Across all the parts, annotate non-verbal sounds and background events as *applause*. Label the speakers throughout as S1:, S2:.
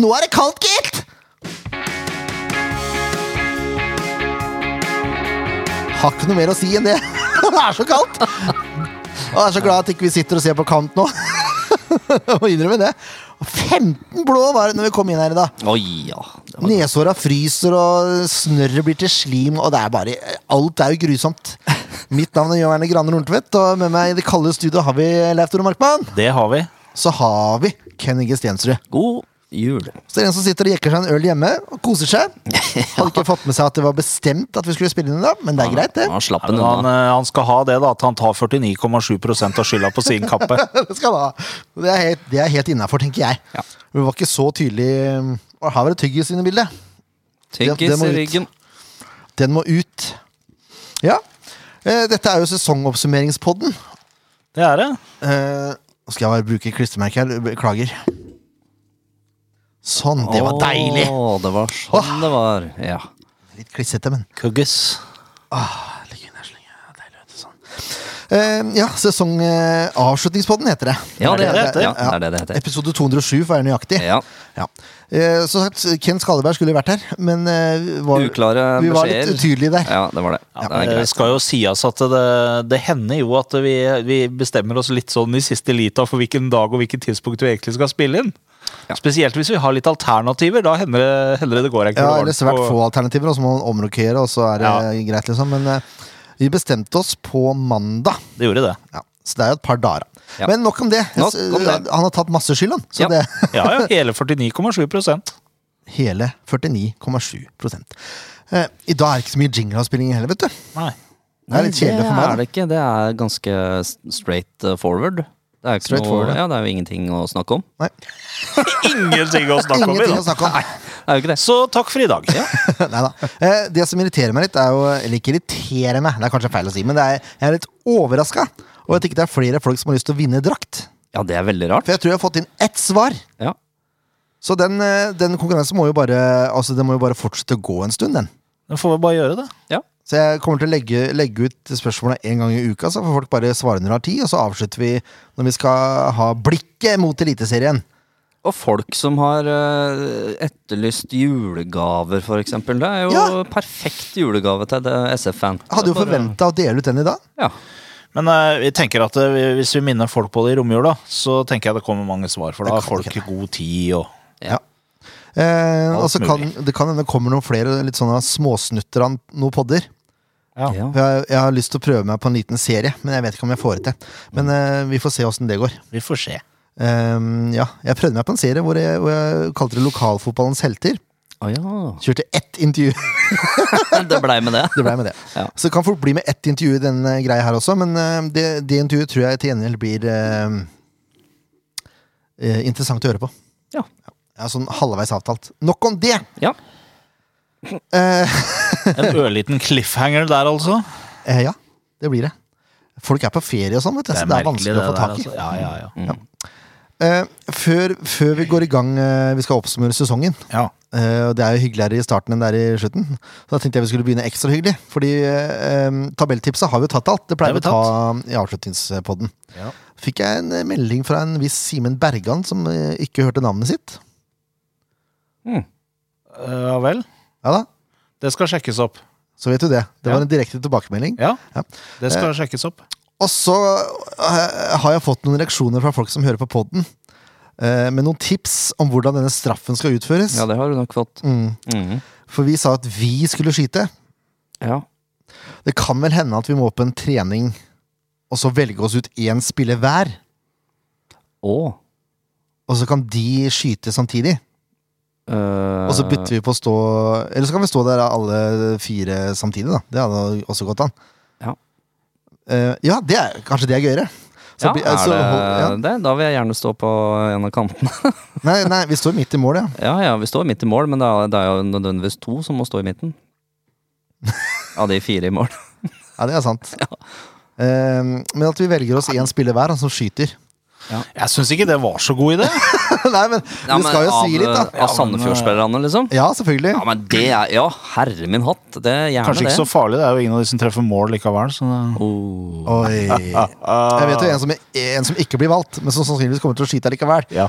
S1: Nå er det kaldt, gitt! Har ikke noe mer å si enn det. *laughs* Det er så kaldt. Og jeg er så glad at ikke vi sitter og ser på kamp nå. *laughs* Må innrømme det. 15 blå var det når vi kom inn her i dag.
S2: Oi, ja. Det var-
S1: Neshåra fryser, og snørret blir til slim, og det er bare Alt er jo grusomt. Mitt navn er Jørgen Graner Horntvedt, og med meg i det kalde studioet har vi Leif Tore Markmann.
S2: Det har vi.
S1: Så har vi Ken Inge Stensrud.
S2: God jul.
S1: Så det er en som sitter og jekker seg en øl hjemme og koser seg. Hadde ikke fått med seg at det var bestemt at vi skulle spille inn i dag, men det er greit, det.
S2: Han slapp
S3: Men
S2: den
S3: han,
S2: unna.
S3: eh, han skal ha det, da, at han tar 49,7 av skylda på sin kappe.
S1: *laughs* Det skal han ha. Det er helt, det er helt innafor, tenker jeg.
S2: Ja.
S1: Vi var ikke så tydelig um, Og her var det tyggis inne i bildet. det- det
S2: Tyggis
S1: må
S2: i
S1: ut.
S2: ryggen.
S1: Den må ut. Ja. Eh, Dette er jo sesongoppsummeringspodden.
S3: *laughs* Det er det.
S1: Eh, Nå skal jeg bare bruke klistremerket her. Beklager. Sånn. Det var deilig.
S2: Å, det var sånn det var. Ja.
S1: Litt klissete, men
S3: Kuggis. sånn.
S1: Eh, Ja, sesongavslutningspodden heter det.
S2: Ja, det er
S3: det
S2: det. Ja, det er det det heter.
S1: Episode 207, for å være nøyaktig.
S2: Ja.
S1: Ja. Eh, som sagt, Ken Skalleberg skulle vært her, men eh, var,
S2: Uklare
S1: vi var
S2: beskjeder.
S1: litt utydelige der.
S2: ja, det var det.
S3: Ja,
S2: det er
S3: det
S2: greit.
S3: Eh, skal jo sies at det, det hender jo at vi, vi bestemmer oss litt sånn i siste lita for hvilken dag og hvilket tidspunkt vi egentlig skal spille inn.
S2: Ja.
S3: Spesielt hvis vi har litt alternativer. Da hender det, hender det det går
S1: Ja,
S3: en kule
S1: eller
S3: varmt
S1: svært
S3: på-
S1: få alternativer, og så må man omrokere, og så er det greit, liksom. Men eh, vi bestemte oss på mandag,
S3: Det gjorde det.
S1: ja. så det er jo et par dager.
S2: Ja.
S1: Men nok om det.
S2: Nok om det.
S1: Han har tatt masse skyld, han. Så
S2: Ja.
S1: det
S3: Ja, ja, hele 49,7
S1: *laughs* hele 49,7 eh, I dag er det ikke så mye jingle-avspilling heller, vet du.
S3: Nei.
S1: Det er litt kjedelig for
S2: Nei, Det er
S1: meg.
S2: det ikke. Det er ganske s- straight uh, forward. Det er, jo ikke
S1: Straight
S2: noe,
S1: forward, ja.
S2: ja, det er jo ingenting å snakke om.
S1: Da. Nei,
S3: *laughs* Ingenting å snakke om i
S1: ingenting å
S3: dag.
S1: snakke om.
S2: Det er jo ikke det.
S3: Så takk for i dag.
S1: *laughs* Neida. Eh, Det som irriterer meg litt, er jo Eller ikke irriterer meg, det er kanskje feil å si, men det er, jeg er litt overraska over at ikke det er flere folk som har lyst til å vinne drakt.
S2: Ja, det er veldig rart.
S1: For jeg tror jeg har fått inn ett svar.
S2: Ja.
S1: Så den, eh, den konkurransen må jo bare Altså den må jo bare fortsette å gå en stund, den.
S3: Da får vi bare gjøre det.
S2: ja.
S1: Så jeg kommer til å legge, legge ut spørsmåla én gang i uka, så får folk bare svare når de har tid. Og så avslutter vi når vi skal ha blikket mot Eliteserien.
S2: Og folk som har eh, etterlyst julegaver, for eksempel. Det er jo
S1: Ja.
S2: perfekt julegave til det SF-fan.
S1: Jeg hadde jo
S2: Det er bare-
S1: forventa å dele ut den i dag.
S2: Ja.
S3: Men eh, vi tenker at eh, hvis vi minner folk på det i romjula, så tenker jeg det kommer mange svar, for da har folk god tid og
S2: Ja.
S1: Eh, og så kan,
S3: mulig.
S1: det kan hende det kommer noen flere litt sånne småsnutter av noen podder.
S3: Ja.
S2: Ja. *laughs*
S1: For Jeg, jeg har lyst til å prøve meg på en liten serie, men jeg vet ikke om jeg får det til. Men eh, vi får se åssen det går.
S3: Vi får se.
S1: Ehm, ja, jeg prøvde meg på en serie hvor jeg, hvor jeg kalte det Lokalfotballens helter.
S2: Å ja.
S1: Kjørte ett intervju.
S2: Det blei med det.
S1: Det ble *laughs* med det.
S2: Ja.
S1: Så det kan fort bli med ett intervju i denne greia her også, men eh, det, det intervjuet tror jeg til gjengjeld blir eh, eh, interessant å høre på.
S2: Ja.
S1: Ja, sånn halvveis avtalt. Nok om det!
S2: ja.
S3: En ørliten cliffhanger der, altså.
S1: Eh, ja, det blir det. Folk er på ferie og sånn, vet du, så *laughs* det er vanskelig å få tak i. Mm.
S3: altså. Ja, ja, ja.
S1: Eh, før, før vi går i gang, eh, vi skal oppsummere sesongen.
S3: ja.
S1: Eh, og det er jo hyggeligere i starten enn det er i slutten. Så da tenkte jeg vi skulle begynne ekstra hyggelig. Fordi eh, eh, tabelltipset har vi jo tatt alt. Det pleier vi
S3: Det
S1: å ta
S3: har
S1: i avslutningspodden.
S3: Ja.
S1: Fikk jeg en eh, melding fra en viss Simen Bergan som eh, ikke hørte navnet sitt.
S3: Eh, ja vel.
S1: Ja da,
S3: Det skal sjekkes opp.
S1: så vet du det. Det
S3: Ja.
S1: var en direkte tilbakemelding.
S3: Ja,
S1: Ja. Eh.
S3: det skal sjekkes opp.
S1: Og så eh, har jeg fått noen reaksjoner fra folk som hører på podden. eh, med noen tips om hvordan denne straffen skal utføres.
S2: Ja, det har du nok fått.
S1: Mm.
S2: Mhm.
S1: For vi sa at vi skulle skyte.
S2: Ja.
S1: Det kan vel hende at vi må på en trening og så velge oss ut én spiller hver.
S2: Å.
S1: Og så kan de skyte samtidig.
S2: eh,
S1: Og så bytter vi på å stå Eller så kan vi stå der alle fire samtidig, da. Det hadde også gått an.
S2: Ja.
S1: Eh, ja, det er, kanskje det er gøyere. Så
S2: ja,
S1: blir-
S2: er
S1: så
S2: det,
S1: hold-
S2: det? Da vil jeg gjerne stå på en av kantene. *laughs*
S1: ja. Nei, nei, vi står midt i mål, ja.
S2: Ja, ja, vi står midt i mål, men det er, det er jo nødvendigvis to som må stå i
S1: *laughs*
S2: midten. Av de fire i mål.
S1: Ja, det er
S2: *laughs*
S1: sant. Eh, men at vi velger oss én spiller hver, han som skyter. *laughs*
S3: Jeg syns ikke det var så god idé.
S1: nei, men
S2: Ja,
S1: det
S2: men
S1: skal jo
S2: av, eh,
S1: svi litt, da.
S2: Av Sandefjord-spillerne, liksom.
S1: Ja, selvfølgelig.
S2: Ja, men det er Ja, herre min hatt! Det er gjerne
S3: Kanskje
S2: det.
S3: ikke så farlig. Det er jo ingen av de som treffer mål likevel. Så det...
S2: Oh. *laughs*
S1: Oi. Jeg vet jo en som, en som ikke blir valgt, men som sannsynligvis kommer til å skyte likevel.
S3: ja.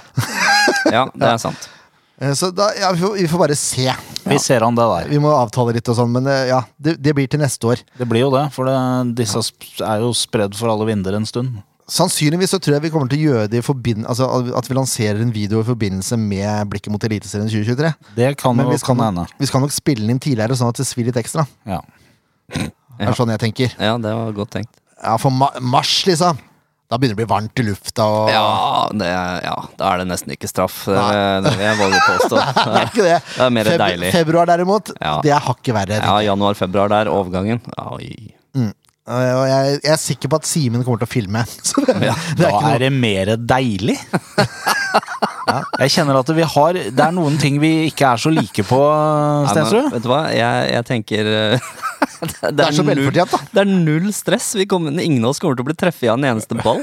S2: Ja, det er sant.
S1: Eh, Eh, Så da, ja, vi, får, vi får bare se.
S3: *laughs* Vi ser an det der.
S1: Vi må avtale litt og sånn, men eh, ja, det, det blir til neste år.
S3: Det blir jo det, for det, disse sp- er jo spredd for alle vinder en stund.
S1: Sannsynligvis så tror jeg vi kommer til å gjøre det i forbind- altså, at vi lanserer en video i forbindelse med Blikket mot Eliteserien 2023.
S3: Det kan
S1: Men
S3: jo
S1: vi skal,
S3: kan hende.
S1: nok, vi skal nok spille den inn tidligere, sånn at det svir litt ekstra.
S3: Ja.
S1: Det er sånn jeg tenker.
S2: Ja, det var godt tenkt.
S1: Ja, For ma mars, liksom. Da begynner det å bli varmt i lufta. Og...
S2: Ja, det, ja, da er det nesten ikke straff. Det, det vil jeg våge å påstå.
S1: Det er ikke det.
S2: Det er mer deilig.
S1: Februar, derimot,
S2: Ja.
S1: det er hakket verre.
S2: Ja, januar-februar der, overgangen. Oi.
S1: Og jeg- og jeg, jeg er sikker på at Simen kommer til å filme. *laughs* Så det, det
S3: Da
S1: er ikke noe
S3: er det mer *laughs* deilig. Jeg kjenner at vi har Det er noen ting vi ikke er så like på,
S2: Nei, men
S3: Stensrud.
S2: Vet du hva, jeg, jeg tenker eh, *laughs* det, det
S1: er så
S2: null-
S1: velfortjent, da.
S2: Det er null stress. Vi kommer, ingen av oss kommer til å bli treffet av en eneste ball.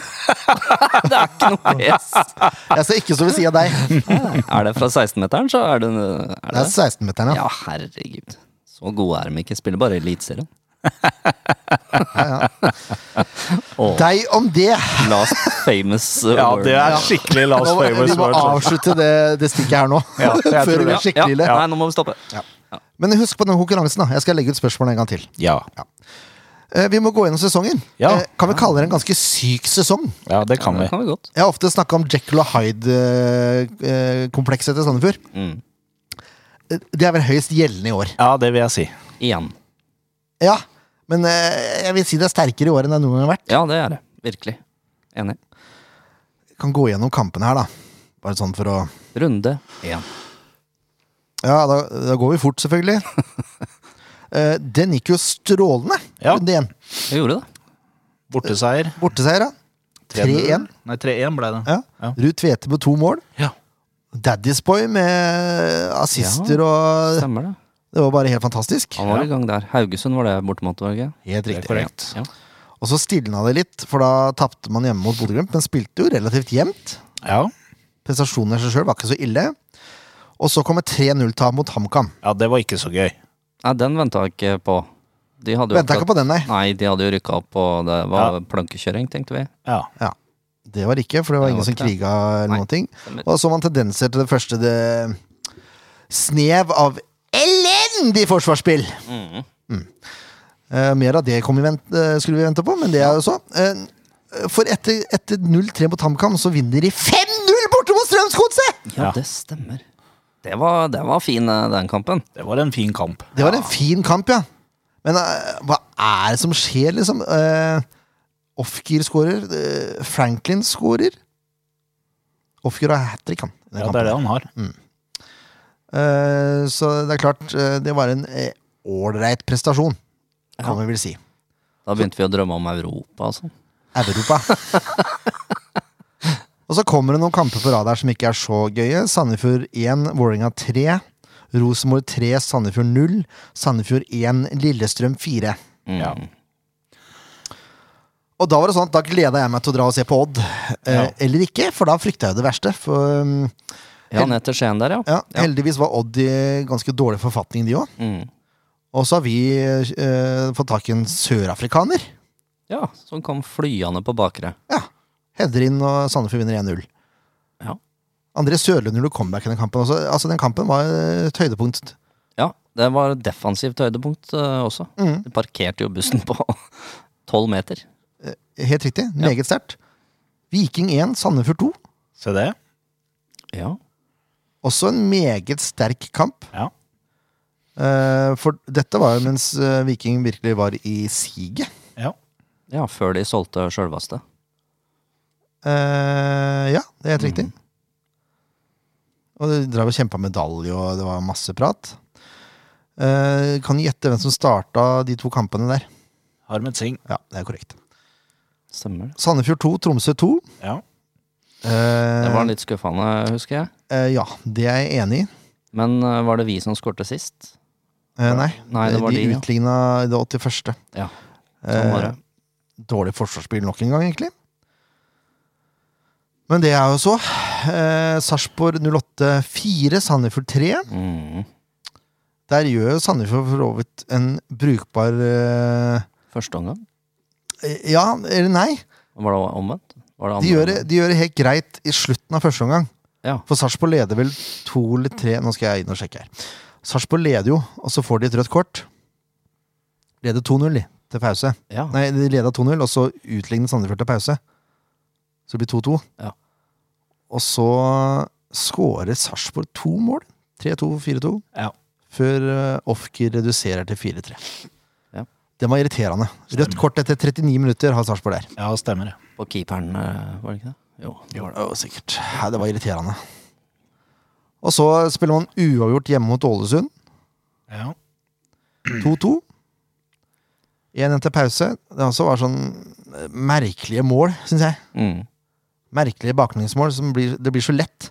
S2: *laughs* det er ikke noe press.
S1: Jeg ser ikke så ved siden av
S2: *laughs*
S1: deg.
S2: Er det fra 16-meteren, så er det er
S1: Det
S2: det.
S1: er 16-meteren, ja.
S2: Ja, herregud. Så gode er de ikke. Spiller bare i Eliteserien.
S1: Deg om det.
S2: Last famous uh,
S3: Ja, det
S2: word.
S3: er skikkelig last
S1: Nå, må- vi
S3: famous
S1: må
S3: word.
S1: avslutte det, det stikket her nå.
S3: *laughs* Ja, jeg tror
S1: *laughs* Før det
S3: det.
S1: blir skikkelig ille.
S2: ja. Nei, nå må vi stoppe.
S1: Men husk på den konkurransen. da Jeg skal legge ut spørsmålene en gang til.
S3: Ja.
S1: Eh, Vi må gå gjennom sesongen.
S3: Ja.
S1: Eh, Kan vi kalle det en ganske syk sesong?
S3: ja, det kan
S2: Det
S3: vi.
S2: kan vi godt.
S1: Jeg har ofte snakka om Jekyll og Hyde-komplekset til Sandefjord.
S2: Mm.
S1: Eh, Det er vel høyest gjeldende i år.
S3: Ja, det vil jeg si.
S2: Igjen.
S1: Ja, men eh, jeg vil si det er sterkere i år enn det noen gang har vært.
S2: Ja, det er det. Virkelig. Enig.
S1: Kan gå gjennom kampene her, da. Bare sånn for å
S2: Runde én.
S1: Ja, da, da går vi fort,
S3: *laughs*
S1: selvfølgelig. Eh, Den gikk jo strålende,
S3: Ja.
S1: runde én.
S2: Vi gjorde det.
S3: Borteseier.
S1: Borteseier, da. 3-1.
S3: Nei, 3-1 ble det.
S1: Ja.
S3: Ja.
S1: Ruud Tvete med to mål.
S3: Ja.
S1: Daddy's Boy med eh, assister og
S2: Stemmer det.
S1: Det var bare helt fantastisk.
S2: Han var i gang der. Haugesund var det bortimot, var det ikke?
S1: Helt
S3: Det er
S1: riktig.
S3: korrekt.
S2: Ja.
S1: Og så stilna det litt, for da tapte man hjemme mot Bodø-Glimt, men spilte jo relativt jevnt.
S3: Ja.
S1: Prestasjonen i seg sjøl var ikke så ille. Og så kom et 3-0-tap mot HamKam.
S3: ja, det var ikke så gøy.
S2: Nei, den venta jeg ikke på. De hadde jo
S1: Venta ikke på den, nei.
S2: Nei, de hadde jo rykka opp, og det var plankekjøring, tenkte vi.
S3: Ja.
S1: Ja, Det var det ikke, for det var
S2: Det var
S1: ingen som
S2: ikke det.
S1: kriga eller
S2: Nei.
S1: noen ting.
S2: Stemmer.
S1: Og så så man tendenser til det første det snev av elendig forsvarsspill! Mm. Eh, mer av det kom vi vent, eh, skulle vi vente på, men det er jo så. Eh, for etter, etter 0-3 mot HamKam, så vinner de 5-0 borte mot Strømsgodset!
S2: Ja,
S3: Ja.
S2: det stemmer. Det var, det var fin, eh, den kampen.
S3: Det var en fin kamp.
S1: Det var en fin kamp, ja. Men eh, hva er det som skjer, liksom? Uh, Offgear skårer. eh, Franklin skårer. Offgear har hat trick, han. i den
S3: Ja, det
S1: kampen.
S3: er det han har.
S1: Mm. Eh, så det er klart, eh, det var en eh, ålreit prestasjon, kan vi vel si.
S2: Da begynte vi å drømme om Europa og sånn.
S1: Europa. *laughs* og så kommer det noen kamper på rad her som ikke er så gøye. Sandefjord 1, Vålerenga 3. Rosenborg 3, Sandefjord 0. Sandefjord 1, Lillestrøm 4.
S2: Mm.
S3: Ja.
S1: Og da var det sånn at da gleda jeg meg til å dra og se på Odd. Eh,
S3: Ja.
S1: Eller ikke, for da frykta jeg jo det verste. For um,
S2: ja, ned til Skien der, ja.
S1: ja, heldigvis var Odd i ganske dårlig forfatning, de òg.
S2: Mm.
S1: Og så har vi eh, fått tak i en sørafrikaner.
S2: ja som kom flyende på bakre.
S1: Ja. Header inn, og Sandefjord vinner 1-0.
S2: Ja.
S1: André Sørlund gjorde comeback i den kampen også. Altså, den kampen var et høydepunkt.
S2: Ja, det var defensivt høydepunkt eh, også.
S1: Mm.
S2: De parkerte jo bussen på *laughs* tolv meter.
S1: Helt riktig. Meget sterkt. Viking 1, Sandefjord 2.
S3: Se det.
S2: Ja.
S1: Også en meget sterk kamp.
S3: Ja.
S1: Eh, for dette var jo mens eh, Viking virkelig var i siget.
S3: ja.
S2: ja, før de solgte sjølveste.
S1: Eh, ja, det er helt riktig.
S2: Mm.
S1: Og de drev og kjempa medalje, og det var masse prat. Eh, kan du gjette hvem som starta de to kampene der?
S3: Harmet Singh.
S1: Ja, det er korrekt.
S2: Stemmer det.
S1: Sandefjord 2, Tromsø 2.
S3: Ja.
S1: Eh,
S2: Det var litt skuffende, husker jeg.
S1: eh, ja, det er jeg enig i.
S2: Men eh, var det vi som skårte sist?
S1: Eh, nei,
S2: Nei, det var
S1: de
S2: de, ja.
S1: utligna det 81.
S2: Ja. Sånn var det.
S1: Dårlig forsvarsspill nok en gang, egentlig. Men det er jo så. Eh, Sarpsborg 08-4, Sandefjord 3.
S2: Mm.
S1: Der gjør jo Sandefjord for så vidt en brukbar eh,
S2: Første omgang?
S1: Ja, eller nei.
S2: Var det omvendt? Var det
S1: De
S2: andre
S1: gjør, det,
S2: omgang?
S1: de gjør det helt greit i slutten av første omgang.
S2: Ja.
S1: For Sarpsborg leder vel to eller tre Nå skal jeg inn og sjekke her. Sarpsborg leder jo, og så får de et rødt kort. Leder 2-0 de, til pause.
S2: ja.
S1: Nei, de leda 2-0, og så utlignet Sandefjord til pause. Så det blir 2-2.
S2: Ja.
S1: Og så skårer Sarpsborg to mål. 3-2, 4-2.
S3: Ja.
S1: Før eh, Ofker reduserer til 4-3.
S2: Ja.
S1: Det var irriterende. Rødt kort etter 39 minutter har Sarpsborg der.
S3: Ja, stemmer det.
S2: På keeperen, eh, var det ikke det? Jo. det var det.
S1: Å, sikkert. Ja, det var irriterende. Og så spiller man uavgjort hjemme mot Ålesund.
S3: Ja.
S1: 2-2. 1-1 til pause. Det også var sånn eh, merkelige mål, syns jeg.
S2: Mm.
S1: merkelige baklengsmål. Som blir, det blir så lett.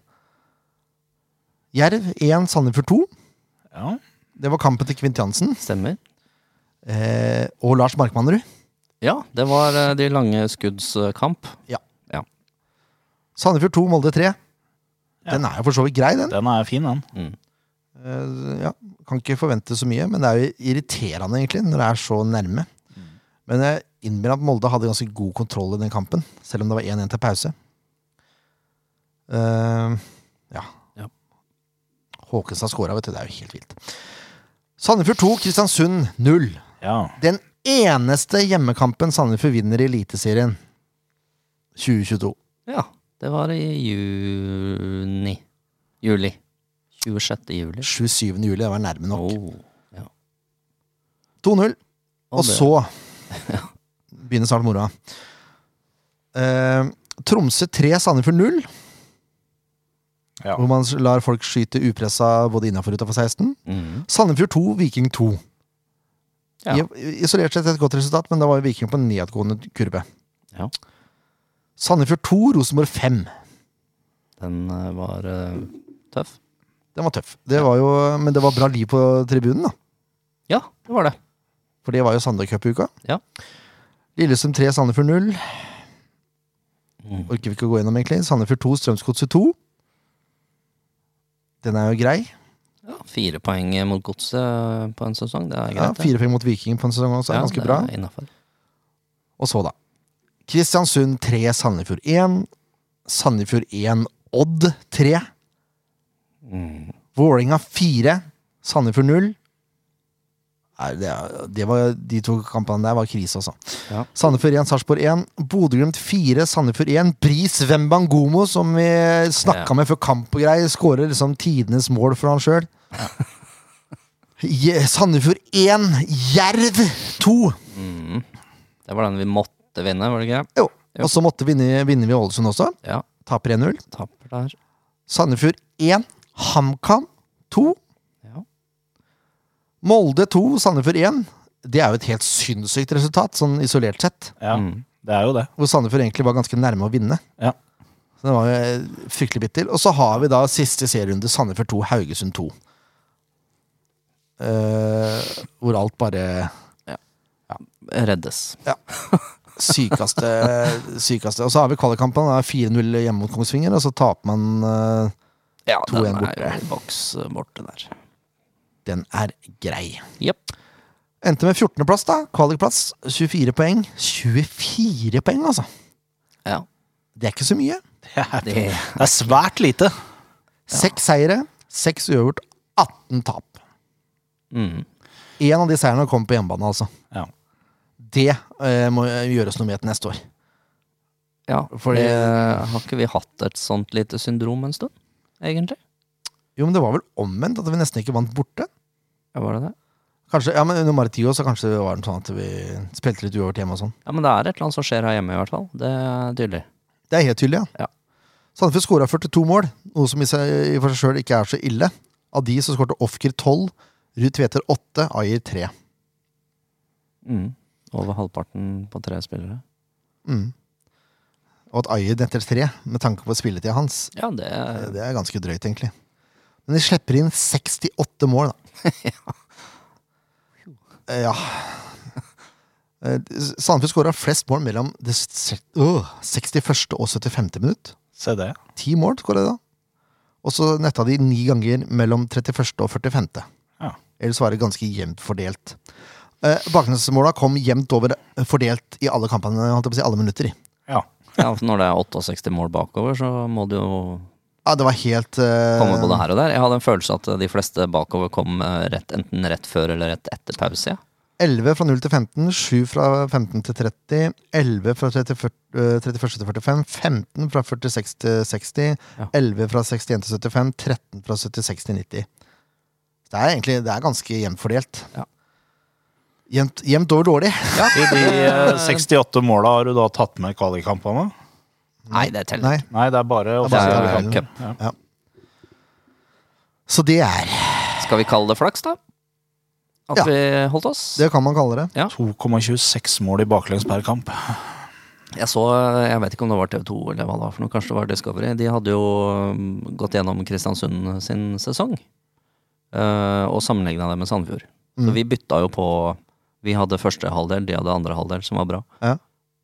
S1: Jerv 1, Sandefjord 2.
S3: ja.
S1: Det var kampen til Kvint Jansen
S2: Stemmer.
S1: eh, og Lars Markmannerud.
S2: Ja, det var eh, de lange skudds eh, kamp.
S1: Sandefjord 2, Molde 3.
S3: Ja.
S1: Den er jo for så vidt grei, den.
S3: Den er fin, den.
S2: Mm.
S1: Eh, ja, kan ikke forvente så mye, men det er jo irriterende, egentlig, når det er så nærme. Men jeg innbiller at Molde hadde ganske god kontroll i den kampen, selv om det var 1-1 til pause. Eh, ja.
S2: Ja.
S1: Håkenstad skåra, vet du. Det er jo helt vilt. Sandefjord 2, Kristiansund 0.
S3: Ja.
S1: Den eneste hjemmekampen Sandefjord vinner i Eliteserien 2022.
S2: Ja, det var i juni. Juli. 26. juli.
S1: 27. juli, det var nærme nok.
S2: Oh, ja.
S1: 2-0. Og
S2: det- *laughs*
S1: så begynner snart moroa. Eh, Tromsø 3, Sandefjord 0.
S3: Ja.
S1: Hvor man lar folk skyte upressa både innafor og utafor 16.
S2: Mhm.
S1: Sandefjord 2, Viking 2.
S2: Ja.
S1: I- Isolert sett et godt resultat, men da var jo Viking på en nedadgående kurve.
S2: Ja.
S1: Sandefjord 2, Rosenborg 5.
S2: Den eh, var eh, tøff.
S1: Den var tøff. Det var jo, men det var bra liv på tribunen, da.
S2: Ja, det var det.
S1: For det var jo Sandøy Cup-uka.
S2: Ja.
S1: Lillesund 3, Sandefjord 0.
S2: Mm.
S1: Orker vi ikke å gå gjennom, egentlig. Sandefjord 2, Strømsgodset 2. Den er jo grei.
S2: Ja, fire poeng mot godset eh, på en sesong, det er
S1: Ja,
S2: greit. det.
S1: fire poeng mot Viking på en sesong også, er
S2: Ja,
S1: ganske
S2: det
S1: bra.
S2: er innenfor.
S1: Og så, da. Kristiansund 3, Sandefjord 1. Sandefjord 1, Odd 3.
S2: Mm.
S1: Vålinga 4, Sandefjord 0. Nei, det, er- det var, de to kampene der var krise, altså.
S2: Ja.
S1: Sandefjord 1, Sarpsborg 1. Bodø-Glimt 4, Sandefjord 1. Bris Wembangomo, som vi snakka
S2: Ja.
S1: med før kamp og greier, skårer liksom tidenes mål for han sjøl. Je- Sandefjord 1, Jerv 2.
S2: Det var den vi måtte vinne, var det ikke det?
S1: Jo. Og så måtte vinne, vinner vi Ålesund også.
S2: Ja,
S1: Taper 1-0.
S2: tapper der.
S1: Sandefjord 1, HamKam 2.
S2: Ja.
S1: Molde 2, Sandefjord 1. Det er jo et helt sinnssykt resultat, sånn isolert sett.
S3: ja. Det er jo det.
S1: Hvor Sandefjord egentlig var ganske nærme å vinne.
S3: Ja.
S1: Så det var jo eh, fryktelig bitter. Og så har vi da siste serierunde, Sandefjord 2, Haugesund 2. Eh, hvor alt bare
S2: Reddes.
S1: Sykeste, *laughs* sykeste. Og så har vi kvalikkampen. da, 4-0 hjemme mot Kongsvinger, og så taper man eh,
S2: Ja,
S1: To
S2: den
S1: igjen borte.
S2: er jo i boks eh, borte der.
S1: Den er grei.
S2: Jepp.
S1: Endte med 14.-plass, da. Kvalikplass. 24 poeng. 24 poeng, altså!
S2: Ja.
S1: Det er ikke så mye.
S3: Det er,
S2: Det,
S3: det er svært lite.
S1: Seks seire, seks uavgjort, 18 tap.
S2: mm.
S1: Én av de seirene kom på hjemmebane, altså.
S3: Ja.
S1: Det eh, må gjøres noe med til neste år.
S2: ja.
S1: Fordi-
S2: Fordi Har ikke vi hatt et sånt lite syndrom en stund, egentlig?
S1: Jo, men det var vel omvendt, at vi nesten ikke vant borte.
S2: Ja, var det det?
S1: Kanskje, ja, men Under Maritio så kanskje det var sånn at vi spilte litt uavgjort hjemme og sånn.
S2: Ja, men det er et eller annet som skjer her hjemme, i hvert fall. Det er tydelig.
S1: Det er helt tydelig, ja.
S2: Ja.
S1: Sandefjord skåra 42 mål, noe som i, seg, i for seg sjøl ikke er så ille. Av de så skårte Ofker 12, Ruud Tveter 8, Ayer 3.
S2: Mm. Over halvparten på tre spillere.
S1: Mm. Og at Ayer netter 3, med tanke på spilletida hans, eh,
S2: Ja, det er
S1: det er ganske drøyt, egentlig. Men de slipper inn 68 mål, da. Eh, ja. Eh, Sandefjord skåra flest mål mellom det se- øh, 61. og 75. minutt.
S3: Se det.
S1: Ti mål skåra de da. Og så netta de ni ganger mellom 31. og 45.
S3: Ja.
S1: Ellers var det ganske jevnt fordelt. Eh, Baklengsmåla kom jevnt over eh, fordelt i alle kampene, holdt jeg på å si, alle minutter. i.
S3: Ja.
S2: ja, for Når det er 68 mål bakover, så må det jo
S1: Ja, det var helt eh,
S2: Komme både her og der. Jeg hadde en følelse at de fleste bakover kom eh, rett, enten rett før eller rett etter pause. Ja.
S1: 11 fra 0 til 15, 7 fra 15 til 30, 11 fra 30, fyr- eh, 31 til 45, 15 fra 46 til 60,
S2: Ja.
S1: 11 fra 61 til 75, 13 fra 76 til 90. Det er egentlig det er ganske jevnt fordelt.
S2: Ja.
S1: Jevnt, jevnt over dårlig.
S3: I de eh, 68 måla har du da tatt med kvalikkampene?
S2: Nei, det teller.
S1: Nei.
S3: Nei, det er bare
S2: Det
S1: Hva
S2: er
S1: skal
S2: jo
S1: vi
S3: offisielle
S1: kalle
S2: cup.
S3: kamper.
S1: Så det er
S2: Skal vi kalle det flaks, da? At
S1: Ja.
S2: vi holdt oss?
S1: Det kan man kalle det.
S3: Ja. 2,26 mål i baklengs per kamp.
S2: Jeg så, eh, jeg vet ikke om det var TV2 eller hva det var for noe, kanskje det var Discovery. De hadde jo mm, gått gjennom Kristiansund sin sesong. eh, og sammenligna det med Sandefjord. Så
S1: Mm.
S2: vi bytta jo på Vi hadde første halvdel, de hadde andre halvdel, som var bra.
S1: Ja.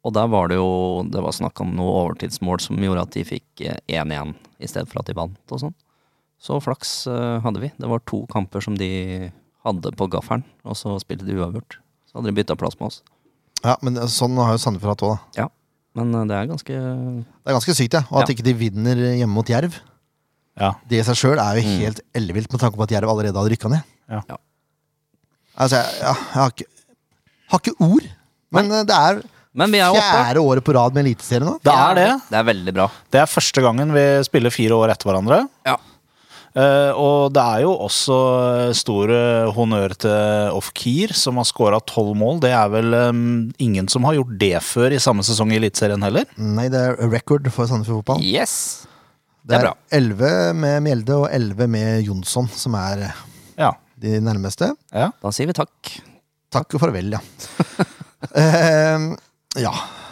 S2: Og der var det jo Det var snakk om noe overtidsmål som gjorde at de fikk eh, 1-1 i stedet for at de vant og sånn. Så flaks eh, hadde vi. Det var to kamper som de hadde på gaffelen, og så spilte de uavgjort. Så hadde de bytta plass med oss.
S1: Ja, Men sånn har jo Sandefjord hatt òg, da.
S2: Ja. Men eh, det er ganske
S1: Det er ganske sykt, ja. Og at
S2: Ja.
S1: ikke de vinner hjemme mot Jerv,
S3: Ja.
S1: det i seg sjøl er jo helt ellevilt, med tanke på at Jerv allerede hadde rykka ned.
S3: Ja.
S2: Mm. Ja.
S1: Altså, jeg, ja, jeg har, ikke, har ikke ord. Men eh, det er
S2: Men vi er jo oppe.
S1: fjerde året på rad med Eliteserien nå.
S3: Det er det.
S2: Det er veldig bra.
S3: Det er første gangen vi spiller fire år etter hverandre.
S2: Ja.
S3: Eh, og det er jo også eh, stor eh, honnør til Off-Keer, som har scora tolv mål. Det er vel eh, ingen som har gjort det før i samme sesong i Eliteserien heller.
S1: Nei, det er record for Sandefjord fotball.
S2: Yes. Det er bra.
S1: 11 med Mjelde og 11 med Jonsson, som er eh,
S3: Ja.
S1: de nærmeste.
S3: ja.
S2: Da sier vi takk.
S1: Takk og
S2: *laughs*
S1: farvel, ja. Eh, ja.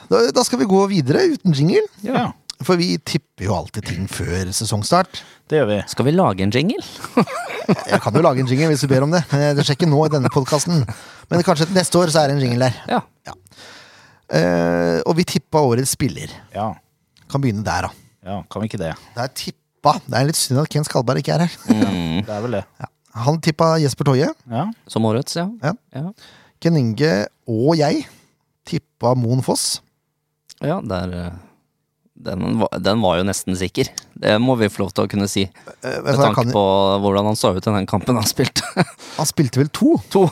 S1: Da, da skal vi gå videre uten jingle,
S3: ja.
S1: for vi tipper jo alltid ting før sesongstart.
S3: Det gjør vi.
S2: Skal vi lage en jingle?
S1: Jeg kan jo lage en jingle hvis du ber om det. Eh, Det skjer ikke nå i denne podkasten. Men kanskje til neste år så er det en jingle der.
S2: Ja.
S1: Eh, og vi tippa årets spiller.
S3: Ja.
S1: Kan begynne der, da.
S3: ja. Kan vi ikke det?
S1: Det er tippa. Det er litt synd at Ken Skalberg ikke er her.
S3: Det er vel det.
S1: Han tippa Jesper Toje.
S3: Ja.
S2: Mm. Som årets, ja.
S1: Ja.
S2: Ja,
S1: Ken Inge og jeg tippa Moen Foss.
S2: ja der eh, den var, den var jo nesten sikker. Det må vi få lov til å kunne si.
S1: Eh, vet du
S2: Med
S1: hva, jeg
S2: tanke
S1: kan,
S2: på hvordan han så ut i den kampen han spilte. *laughs*
S1: han spilte vel to?
S2: to.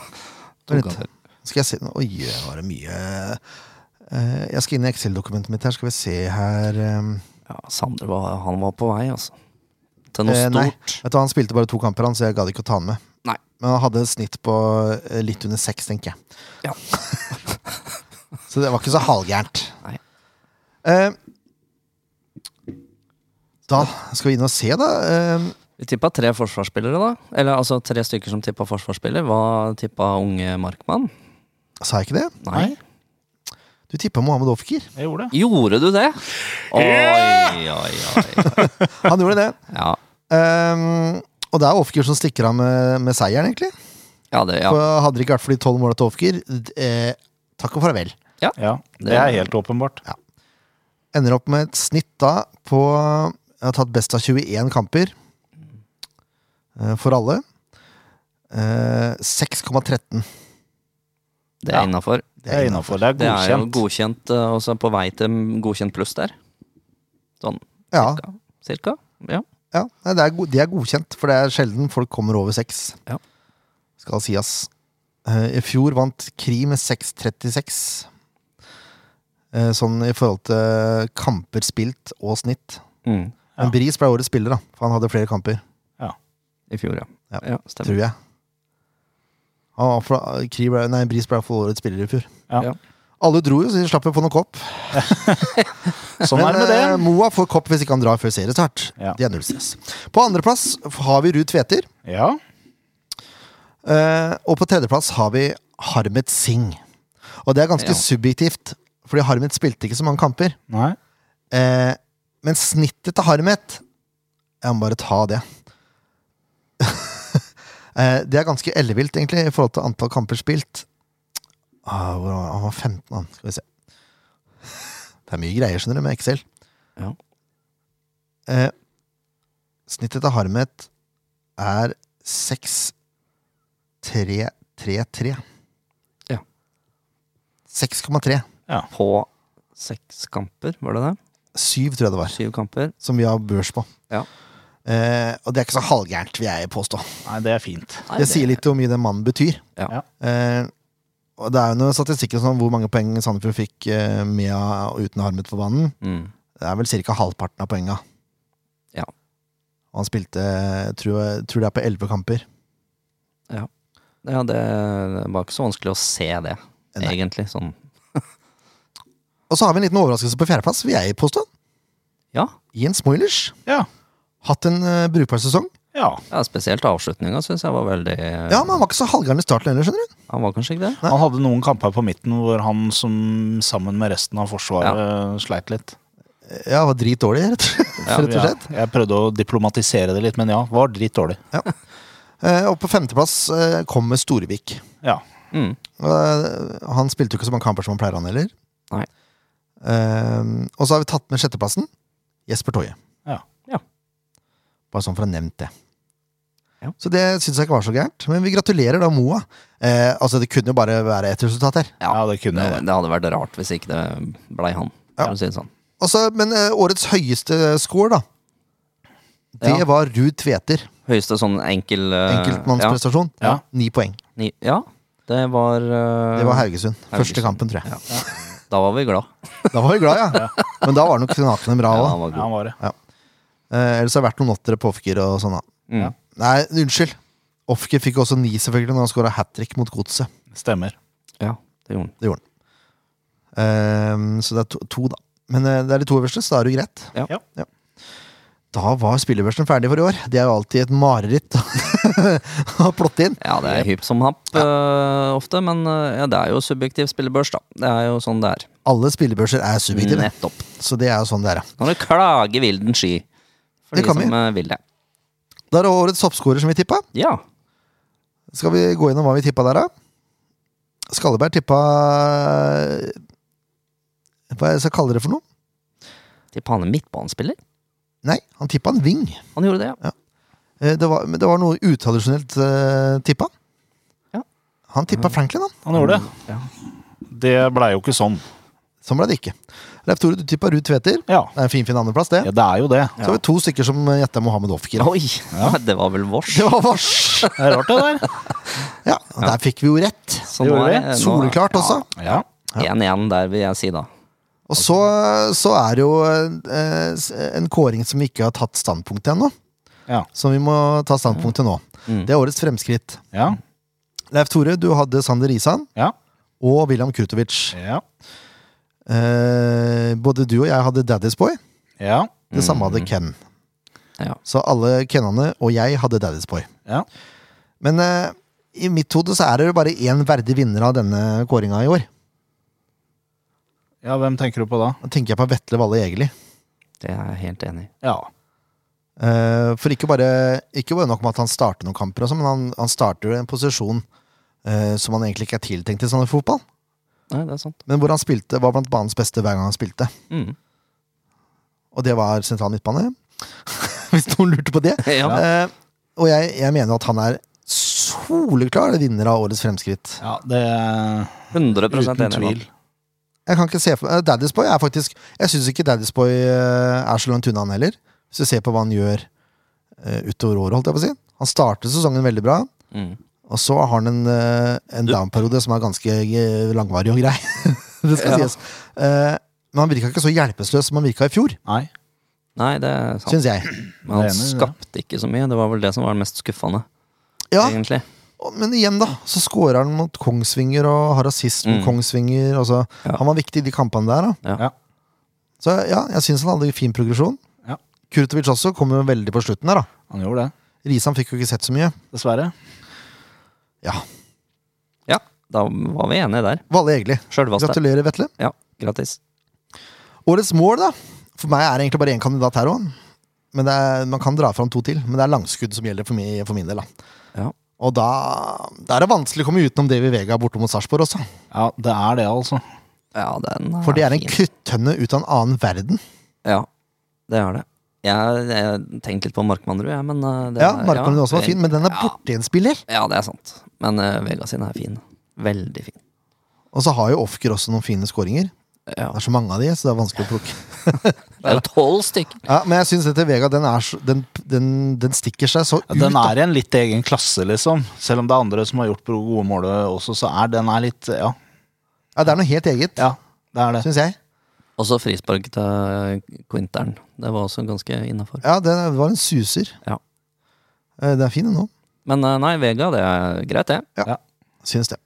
S2: to
S1: Vent.
S2: kamper.
S1: Skal jeg se nå? Oi, det var det mye Eh, Jeg skal inn i Excel-dokumentet mitt her. Skal vi se her eh,
S2: Ja, Sander var, han var på vei, altså. Til noe
S1: eh, Nei,
S2: stort.
S1: vet du, hva, han spilte bare to kamper, han, så jeg gadd ikke å ta han med.
S2: Nei.
S1: Men han hadde et snitt på eh, litt under seks, tenker jeg.
S2: Ja.
S1: *laughs* Så det var ikke så halvgærent.
S2: Nei.
S1: Eh, da skal vi inn og se, da. Eh,
S2: Vi tippa tre forsvarsspillere, da. Eller altså tre stykker som tippa forsvarsspiller. Hva tippa unge Markmann?
S1: sa jeg ikke det?
S2: Nei.
S1: Du tippa Mohammed Ofkir.
S3: Jeg gjorde det.
S2: Gjorde du det? Oi, oi, oi.
S1: Han gjorde det. *laughs*
S2: Ja,
S1: Eh, og det er Ofkir som stikker av med, med seieren, egentlig.
S2: ja, det, ja.
S1: For hadde det ikke vært for de tolv måla til Ofkir, d- eh, takk og farvel.
S3: Ja. Det er helt åpenbart.
S1: Ender opp med et snitt da på Jeg har tatt best av 21 kamper eh, for alle. Eh, 6,13.
S2: det er innafor.
S3: Det er innafor. Det er
S2: Det er jo
S3: godkjent.
S2: godkjent, eh, og så er på vei til godkjent pluss der. Sånn
S1: Ja,
S2: ca. cirka. Ja.
S1: ja nei, det, er go det er godkjent, for det er sjelden folk kommer over 6.
S2: Ja.
S1: Skal sies. Eh, I fjor vant Kri med 6,36. Eh, sånn i forhold til kamper spilt og snitt.
S2: Mm.
S1: Men Bris ble årets spiller, da, for han hadde flere kamper.
S2: I fjor, ja.
S1: Ja.
S2: ja stemmer.
S1: tror jeg. Han var fra, Kri ble, nei, Bris ble for årets spiller i fjor.
S3: Ja.
S2: Ja.
S1: Alle dro jo, så de slapp jo på noen kopp.
S3: *laughs* Sånn er det med
S1: eh,
S3: det.
S1: Moa får kopp hvis ikke han drar før seriestart.
S3: Ja.
S1: Det er null stress. På andreplass har vi Ruud Tveter.
S3: Ja.
S1: eh, og på tredjeplass har vi Harmet Singh. Og det er ganske
S2: Ja.
S1: subjektivt, fordi Harmet spilte ikke så mange kamper.
S3: Nei.
S1: Eh, men snittet til Harmet Jeg må bare ta det. *laughs* eh, det er ganske ellevilt, egentlig, i forhold til antall kamper spilt. Ah, hvor var han? han var 15, han. Skal vi se. *laughs* Det er mye greier, skjønner du, med Excel.
S2: Ja.
S1: Eh, snittet til Harmet er 6-3-3-3.
S2: Ja.
S1: 6,3.
S2: På seks kamper, var det det?
S1: Syv, tror jeg det var.
S2: Syv kamper.
S1: Som vi har børs på.
S2: Ja.
S1: Eh, og det er ikke så halvgærent, vil jeg påstå.
S3: Nei, det er fint.
S2: Nei,
S1: Det sier litt om hvor mye den mannen betyr.
S2: Ja.
S3: Ja.
S1: Eh, og det er jo noen statistikker sånn, hvor mange poeng Sandefjord fikk eh, med og uten Harmet på banen.
S2: Mm.
S1: Det er vel ca. halvparten av poenga.
S2: Ja.
S1: Og han spilte, jeg tror, jeg tror det er på elleve kamper.
S2: Ja, det var ikke så vanskelig å se det,
S1: Nei.
S2: egentlig. Sånn.
S1: Og så har vi en liten overraskelse på fjerdeplass, vil jeg påstå.
S2: Ja,
S1: Ian Smoilers.
S3: Ja.
S1: Hatt en eh, brukbar sesong.
S3: ja.
S2: ja spesielt avslutninga syns jeg var veldig
S1: Ja, men han var ikke så halvgæren i starten heller, skjønner du.
S2: Han var kanskje ikke det?
S3: Han hadde noen kamper på midten hvor han som sammen med resten av Forsvaret sleit litt.
S1: Ja, var dritdårlig, rett, *laughs* rett og
S3: Ja,
S1: slett.
S3: Jeg prøvde å diplomatisere det litt, men ja, var dritdårlig.
S1: Eh, og på femteplass eh, kommer Storevik.
S3: Ja.
S2: Mm.
S1: Eh, han spilte jo ikke så mange kamper som han pleier, han heller.
S2: Nei.
S1: Eh, og så har vi tatt med sjetteplassen. Jesper Toje.
S3: Ja.
S2: Ja.
S1: Bare sånn for å ha nevnt det.
S2: Ja.
S1: Så det syns jeg ikke var så gærent. Men vi gratulerer da Moa. Eh, altså, det kunne jo bare være ett resultat her.
S3: ja, det
S2: Det,
S3: kunne jeg.
S2: det hadde vært rart hvis ikke det blei han,
S1: Ja.
S2: for å si det sånn.
S1: Og så- men eh, årets høyeste score, da, det
S2: Ja.
S1: var Ruud Tveter.
S2: Høyeste sånn enkel eh,
S1: Enkeltmannsprestasjon.
S3: Ja.
S1: Ni poeng.
S2: Ja, ni, ja, det var eh,
S1: Det var Haugesund. Første
S2: Haugesund.
S1: kampen, tror jeg.
S2: Ja. Da var vi glad.
S1: Da var vi glad, ja. Men da var det nok knakende bra
S2: Ja,
S1: òg.
S2: han var
S3: Ja,
S2: god.
S3: han var det.
S1: Eh, ellers har det vært noen åttere på offgear og sånn. da.
S2: Mm.
S3: Ja.
S1: Nei, unnskyld. Offgear fikk også ni, selvfølgelig, når han skåra hat trick mot Godset.
S3: Stemmer.
S2: Ja, det gjorde han.
S1: Det gjorde han. Ehm, så det er to, to da. Men eh, det er de to øverste, så da er det jo greit.
S2: Ja.
S3: Ja.
S1: Da var spillebørsen ferdig for i år. Det er jo alltid et mareritt *laughs* å plotte inn.
S2: Ja, det er hypp som happ eh, ofte, men eh, ja, det er jo subjektiv spillebørs, da. Det er jo sånn det er.
S1: Alle spillebørser er subjektive,
S2: Nettopp.
S1: så det er jo sånn det er. ja.
S2: Kan du klage vilden sky for
S1: Det
S2: de
S1: kan
S2: som
S1: vi.
S2: eh, vil det?
S1: Da er det årets toppskårer som vi tippa.
S2: Ja.
S1: Skal vi gå gjennom hva vi tippa der, da? Skalleberg tippa Hva er det jeg skal kalle det for noe?
S2: Tipper han er midtbanespiller?
S1: Nei, han tippa en ving.
S2: Han gjorde det, ja.
S1: Eh, Det var, men det var noe utradisjonelt eh, tippa.
S2: Ja.
S1: Han tippa Franklin, han.
S3: Han gjorde det.
S2: Ja.
S3: Det blei jo ikke sånn.
S1: Sånn ble det ikke. Leif Tore, du tippa Ruud Tveter.
S3: Ja.
S1: Det er en finfin andreplass, det.
S3: ja, det er jo det.
S1: Så har vi to stykker som eh, gjetta Mohammed Ofkir.
S2: Oi! *laughs* Det var vel vårs.
S1: Det var vars!
S3: Det er rart, det *laughs* der.
S1: Ja, og der fikk vi jo rett.
S2: Så
S3: gjorde det.
S2: eh, nå-
S1: Soleklart også.
S3: Ja.
S2: 1-1 der, vil jeg si, da.
S1: Og så, så er det jo eh, s- en kåring som vi ikke har tatt standpunkt til ennå.
S3: Ja.
S1: Som vi må ta standpunkt til nå.
S2: Mm.
S1: Det er årets fremskritt.
S3: Ja.
S1: Leif Tore, du hadde Sander Risan
S3: Ja.
S1: og William Krutovic.
S3: Ja.
S1: Eh, både du og jeg hadde Daddy's Boy.
S3: Ja.
S1: Det samme hadde Ken.
S2: Ja.
S1: Så alle Kennene og jeg hadde Daddy's Boy.
S3: ja.
S1: Men eh, i mitt hode så er det jo bare én verdig vinner av denne kåringa i år.
S3: ja hvem tenker du på da?
S1: Da tenker jeg på Vetle Valle Egeli.
S2: Det er jeg helt enig i.
S3: Ja.
S1: Eh, for ikke bare, ikke bare nok med at han starter noen kamper, og sånn, men han, han starter jo i en posisjon eh, som han egentlig ikke er tiltenkt i sånn fotball.
S2: Nei, det er sant.
S1: Men hvor han spilte, var blant banens beste hver gang han spilte.
S2: Mm. *laughs*
S1: Og det var sentral midtbane. *laughs* Hvis noen lurte på det.
S2: Ja.
S1: Eh, og jeg, jeg mener at han er soleklar vinner av årets fremskritt.
S3: ja det
S2: 100 enig.
S3: Uten
S2: i
S3: tvil.
S2: det.
S1: Jeg kan ikke se for eh, Daddy's Boy er faktisk Jeg syns ikke Daddy's Boy eh, er så langt unna, han heller. Hvis du ser på hva han gjør eh, utover året, holdt jeg på å si. Han startet sesongen veldig bra,
S2: Mm.
S1: og så har han en, eh, en down-periode som er ganske eh, langvarig og grei. *laughs* det skal
S2: Ja.
S1: sies. Eh, Men han virka ikke så hjelpeløs som han virka i fjor,
S3: Nei.
S2: Nei, det er sant.
S1: syns jeg.
S2: Men han
S3: Det er enig, ja.
S2: skapte ikke så mye. Det var vel det som var det mest skuffende,
S1: Ja,
S2: egentlig.
S1: og- Men igjen, da, så scorer han mot Kongsvinger og har rasist mot
S2: Mm.
S1: Kongsvinger. Og så.
S2: Ja.
S1: Han var viktig i de kampene der. Da.
S2: Ja.
S3: Ja.
S1: Så ja, jeg syns han hadde fin progresjon.
S3: Ja.
S1: Kurtovic også kom jo veldig på slutten der. da
S3: Han gjorde det.
S1: Risan fikk jo ikke sett så mye.
S3: Dessverre.
S1: Ja,
S2: Ja, da var vi enige der.
S1: Valle Egeli.
S2: Sjølvaste.
S1: Gratulerer, Vetle.
S2: Ja, gratis.
S1: Årets mål, da. For meg er det egentlig bare én kandidat her òg. Men det er, man kan dra fram to til. Men det er langskudd som gjelder for, meg, for min del. da
S2: Ja.
S1: Og da, da er det vanskelig å komme utenom Davy Vega borte mot Sarpsborg også.
S3: Ja, det er det, altså.
S2: ja, den er
S1: For det er en
S2: fin.
S1: kruttønne ut av en annen verden.
S2: Ja, det er det. Jeg, jeg tenkte litt på Markmannrud, jeg, men eh, det
S1: Ja,
S2: er-
S1: Markmannen også var
S2: det-
S1: fin, men den er
S2: ja,
S1: borte i en spiller.
S2: Ja, det er sant. eh, Men uh, Vega sin er fin. Veldig fin.
S1: Og så har jo Ofker også noen fine skåringer.
S2: Ja.
S1: Det er så mange av de, så det er vanskelig å plukke.
S2: Det er jo tolv stykker.
S1: Ja, men jeg syns dette Vega, den, er så, den, den, den stikker seg så ut.
S3: Den
S1: da.
S3: er i en litt egen klasse, liksom. Selv om det er andre som har gjort gode mål også, så er den her litt Ja,
S1: Ja, det er noe helt eget,
S3: ja det er det.
S1: syns jeg.
S2: Og så frispark til Quintern. Det var også ganske innafor.
S1: Ja, det var en suser.
S2: Ja.
S1: Eh, Det er fin, den òg.
S2: Men eh, nei, Vega, det er greit, det.
S1: Syns det.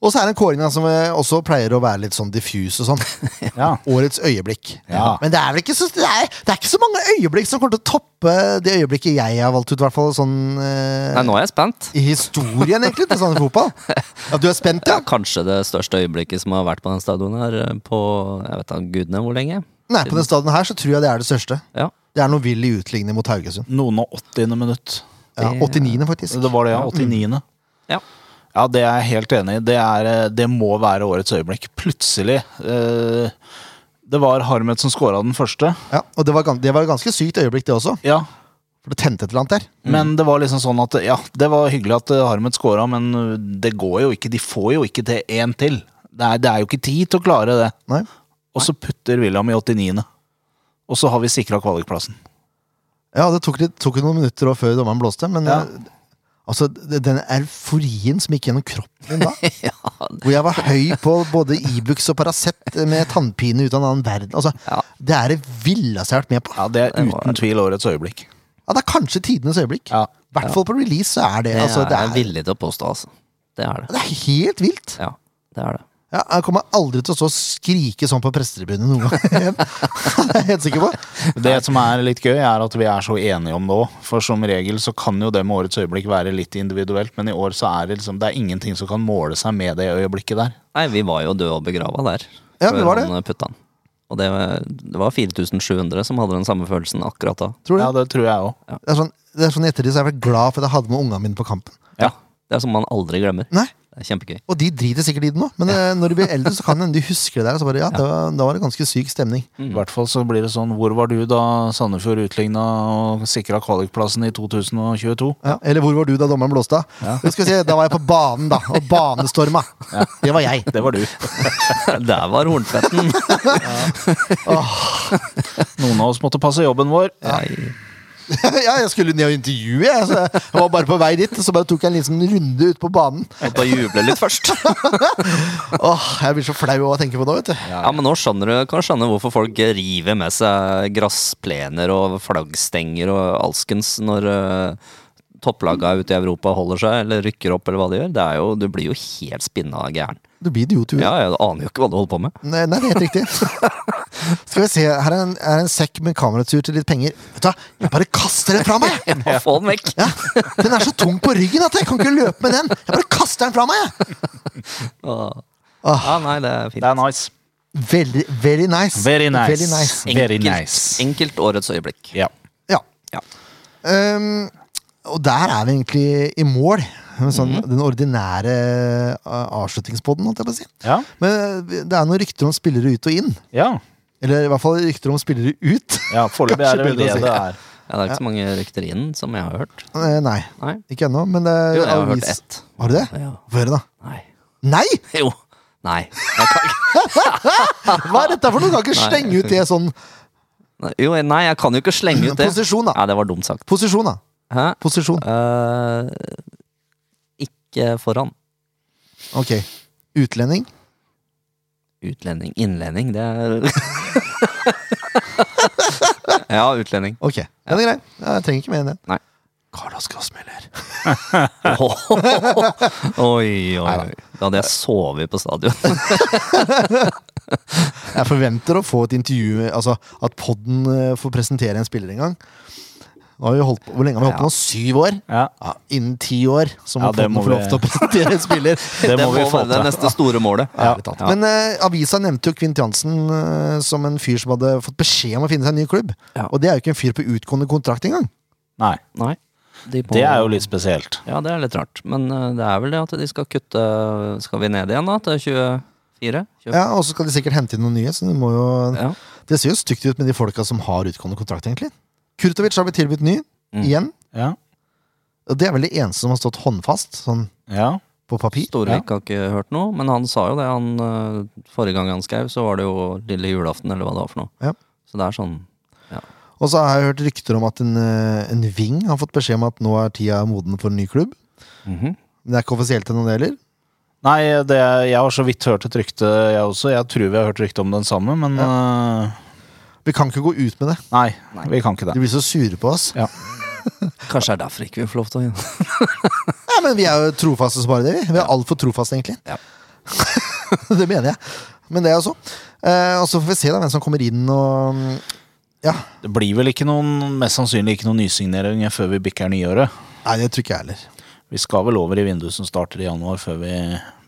S1: Og så er det en kåring da, som eh, også pleier å være litt sånn diffuse og
S3: *laughs*
S1: sånn.
S3: Ja.
S1: Årets øyeblikk.
S3: Ja.
S1: Men det er vel ikke så det er, det er ikke så mange øyeblikk som kommer til å toppe det øyeblikket jeg har valgt ut, i hvert fall sånn eh,
S2: Nei, nå er jeg spent.
S1: i historien, egentlig, til sånn fotball. At du er spent,
S2: Det
S1: ja?
S2: er kanskje det største øyeblikket som har vært på den stadion her eh, på jeg vet da gudene hvor lenge.
S1: Nei, på den stadion her så tror jeg det er det største.
S2: Ja.
S1: Det er noe villig utligning mot Haugesund.
S3: Noen og åttiende minutt.
S1: Ja,
S2: Det-
S1: 89. faktisk.
S3: Det var det, ja. 89.
S1: *laughs*
S2: ja.
S3: Ja, det er jeg helt enig i. Det, er, eh, det må være årets øyeblikk. Plutselig. eh, det var Harmet som scora den første.
S1: Ja, og det var, gans- det var et ganske sykt øyeblikk, det også.
S3: Ja,
S1: For det tente et eller annet der.
S3: Men det var liksom sånn at Ja, det var hyggelig at eh, Harmet scora, men eh, det går jo ikke. De får jo ikke til én til. Det er, det er jo ikke tid til å klare det.
S1: Nei.
S3: Og så putter William i 89. Og så har vi sikra kvalikplassen.
S1: Ja, det tok, litt, tok jo noen minutter også før dommeren blåste, men
S3: Ja.
S1: eh, altså, d- den euforien som gikk gjennom kroppen min da, hvor jeg var høy på både Ibux og Paracet med tannpine ut av en annen verden, altså,
S2: Ja.
S1: det er det villeste jeg har vært med på.
S3: Ja, det er
S2: Det var-
S3: uten tvil årets øyeblikk.
S1: Ja, det er kanskje tidenes øyeblikk.
S3: Ja.
S1: I hvert fall på release så er det,
S2: Det er
S1: altså, det
S2: jeg
S1: er,
S2: villig til å påstå, altså. Det er det.
S1: det er helt vilt.
S2: Ja, det er det.
S1: Ja, jeg kommer aldri til å stå og skrike sånn på prestetribunen noen gang *laughs* igjen. det er jeg helt sikker på.
S3: Det som er litt gøy, er at vi er så enige om det òg. For som regel så kan jo det med årets øyeblikk være litt individuelt, men i år så er det liksom Det er ingenting som kan måle seg med det øyeblikket der.
S2: Nei, vi var jo døde og begrava der.
S1: Ja, vi var det.
S2: han eh, putta den. Og det, var- det var 4700 som hadde den samme følelsen akkurat da.
S1: Tror du?
S3: Ja, det tror jeg òg.
S1: Det er sånn, det er sånn i ettertid så er jeg vel glad for at jeg hadde med ungene mine på kampen.
S3: Ja.
S2: Det er som man aldri glemmer.
S1: Nei,
S2: Det er kjempegøy. *laughs*
S1: Og de driter sikkert i det nå, men eh, når de blir eldre, så kan det hende de husker det der. og Så bare, ja, det var, da var det ganske syk stemning.
S3: I hvert fall så blir det sånn Hvor var du da Sandefjord utligna og sikra kvalikplassen i 2022?
S1: Ja. Eller hvor var du da dommeren blåste av? Men Skal vi se, da var jeg på banen, da. Og banestorma. Det var jeg.
S3: *laughs* Det var du.
S2: Der var hornfetten!
S3: Noen av oss måtte passe jobben vår.
S2: Nei.
S1: *laughs* ja, jeg skulle ned og intervjue, jeg. Så jeg var bare på vei dit. Så bare tok jeg en liten runde ut på banen.
S2: Måtte juble litt først.
S1: Åh, jeg blir så flau av å tenke på det, vet du.
S2: Ja, men nå skjønner du, kan du skjønne hvorfor folk river med seg gressplener og flaggstenger og alskens når eh, topplaga ute i Europa holder seg eller rykker opp eller hva de gjør. Det er jo, du blir jo helt spinna gæren.
S1: Du blir idiot, du.
S2: Ja, jeg aner jo ikke hva du holder på med.
S1: Nei, nei, det er helt
S2: *laughs*
S1: riktig. Skal vi se, her er en, er en sekk med kameratur til litt penger. Vet du hva, jeg bare kaster det fra meg! jeg.
S2: Jeg må få den vekk!
S1: Ja, den er så tung på ryggen at jeg kan ikke løpe med den! Jeg bare kaster den fra meg! jeg.
S2: Åh.
S1: Åh.
S2: Ja, nei, det er
S3: Det
S2: fint.
S3: er nice.
S1: Very, very nice.
S3: Very nice.
S1: Very nice.
S3: Very
S2: Enkelt-
S3: nice.
S2: Enkelt årets øyeblikk.
S3: Ja.
S1: Ja.
S2: Ja.
S1: Ehm, og der er vi egentlig i mål. med Sånn,
S2: Mhm.
S1: Den ordinære uh, avslutningspodden, holdt jeg på å si.
S3: Ja.
S1: Men eh, det er noen rykter om spillere ut og inn.
S3: Ja,
S1: Eller i hvert fall rykter om spillere ut.
S3: ja foreløpig
S1: Kanskje
S3: er det vel det
S1: bedre å si.
S3: det er.
S2: Ja, det er ikke så mange rykter inn som jeg har hørt.
S1: *laughs* Eh, nei,
S2: Nei.
S1: ikke ennå, men det er
S2: Jo, jeg har hørt
S1: avis-
S2: ett.
S1: Har du det?
S2: Ja.
S1: Få høre, da.
S2: Nei. *laughs*
S1: Nei!
S2: Jo. Nei. Jeg kan ikke.
S1: Hva er dette for noe? Du kan ikke
S2: Nei.
S1: slenge ut det sånn.
S2: Nei, *laughs* Jo, nei, jeg kan jo ikke slenge ut det.
S1: Posisjon, da.
S2: Nei, det var dumt sagt.
S1: Posisjon, da.
S2: Hæ?
S1: Posisjon.
S2: Eh, ikke foran.
S1: Ok. Utlending.
S2: Utlending. Innlending, det er *laughs* Ja,
S3: *laughs*
S2: utlending.
S1: Ok. Ja, det er greit. Ja, Jeg trenger ikke mer enn det.
S2: Nei.
S1: Carlos Grossmiller.
S2: Oi, oi, oi. Da hadde jeg sovet på stadion.
S1: Jeg forventer å få et intervju Altså at podden eh, får presentere en spiller en gang. Nå har vi holdt på, hvor lenge har vi holdt på nå? Syv år?
S3: Ja.
S1: Ja, innen ti år så må
S3: Ja, det
S1: podden
S3: må
S1: få lov
S3: vi-
S1: til å presentere en spiller.
S3: Det
S2: Det
S3: må vi
S2: må
S3: få
S2: være det
S3: til.
S2: neste store *laughs* målet.
S3: *laughs* Ja.
S1: Ærlig talt. Men eh, avisa nevnte jo Kvint Jansen eh, som en fyr som hadde fått beskjed om å finne seg en ny klubb.
S2: Ja.
S1: Og det er jo ikke en fyr på utgående kontrakt engang.
S3: Nei,
S2: Nei. De på-
S3: det er jo litt spesielt.
S2: Ja, det er litt rart. Men eh, det er vel det at de skal kutte Skal vi ned igjen, da? Til 24? 25?
S1: Ja, og så skal de sikkert hente inn noen nye. Så de må jo...
S2: Ja.
S1: Det ser jo stygt ut med de folka som har utgående kontrakt, egentlig. Kurtovic har blitt
S2: Mm.
S1: tilbudt ny, igjen.
S3: Ja.
S1: Og det er vel det eneste som har stått håndfast. Sånn
S3: Ja.
S1: på papir.
S2: Storvik har ikke hørt noe, men han sa jo det. Han, eh, forrige gang han skrev, så var det jo lille julaften, eller hva det var for noe.
S1: Ja.
S2: Så det er sånn ja.
S1: Og så har jeg hørt rykter om at en, eh, en Ving har fått beskjed om at nå er tida moden for en ny klubb.
S2: Mhm.
S1: Men det er ikke offisielt ennå, det heller.
S3: Nei, det, jeg har så vidt hørt et rykte, jeg også. Jeg tror vi har hørt rykte om den samme, men øh,
S1: Vi kan ikke gå ut med det.
S3: nei, vi kan ikke
S1: De
S3: det.
S1: blir så sure på oss.
S2: Kanskje det er derfor ikke vi får lov til å
S1: Ja, men vi er jo trofaste som bare det, vi. Vi er altfor trofaste, egentlig.
S2: Ja.
S1: *laughs* det mener jeg. Men det er jo så. Eh, og så får vi se da hvem som kommer inn og Ja.
S3: Det blir vel ikke noen, mest sannsynlig ikke noen nysigneringer før vi bikker nyåret.
S1: Nei, det tror ikke jeg heller.
S3: Vi skal vel over i vinduet som starter i januar, før vi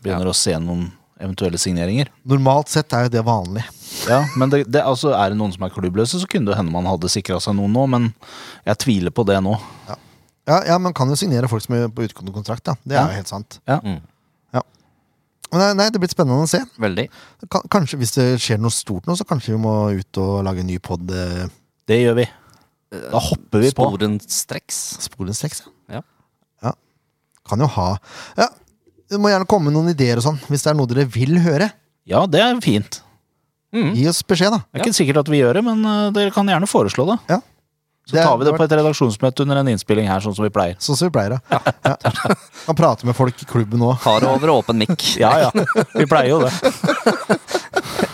S3: begynner å se noen eventuelle signeringer.
S1: Normalt sett er jo det vanlig.
S3: Ja, men det, det, altså, Er det noen som er klubbløse, så kunne det hende man hadde sikra seg noen nå, men jeg tviler på det nå.
S1: Ja, ja Man kan jo signere folk som er på utgående kontrakt. Da. Det er
S3: Ja.
S1: jo helt sant.
S3: Ja.
S2: *laughs* Mm.
S1: Ja. Men nei, nei, det blir spennende å se.
S2: Veldig.
S1: Kan- Kanskje Hvis det skjer noe stort nå, så kanskje vi må ut og lage en ny pod eh,
S3: Det gjør vi. Da hopper vi på.
S2: Sporenstreks.
S1: sporenstreks.
S2: Ja.
S1: ja. Kan jo ha Ja, Du må gjerne komme med noen ideer og sånn, hvis det er noe dere vil høre.
S3: Ja, det er fint.
S2: Mm.
S1: Gi oss beskjed, da.
S3: Det er ikke sikkert at vi gjør det, men eh, dere kan gjerne foreslå det.
S1: Ja.
S3: Så tar vi det på et redaksjonsmøte under en innspilling her, sånn som vi pleier.
S1: Sånn som vi pleier, da. ja. *laughs* Kan prate med folk i klubben òg.
S2: Har over åpen mikk.
S3: *laughs* Ja, ja. Vi pleier jo det.
S2: *laughs*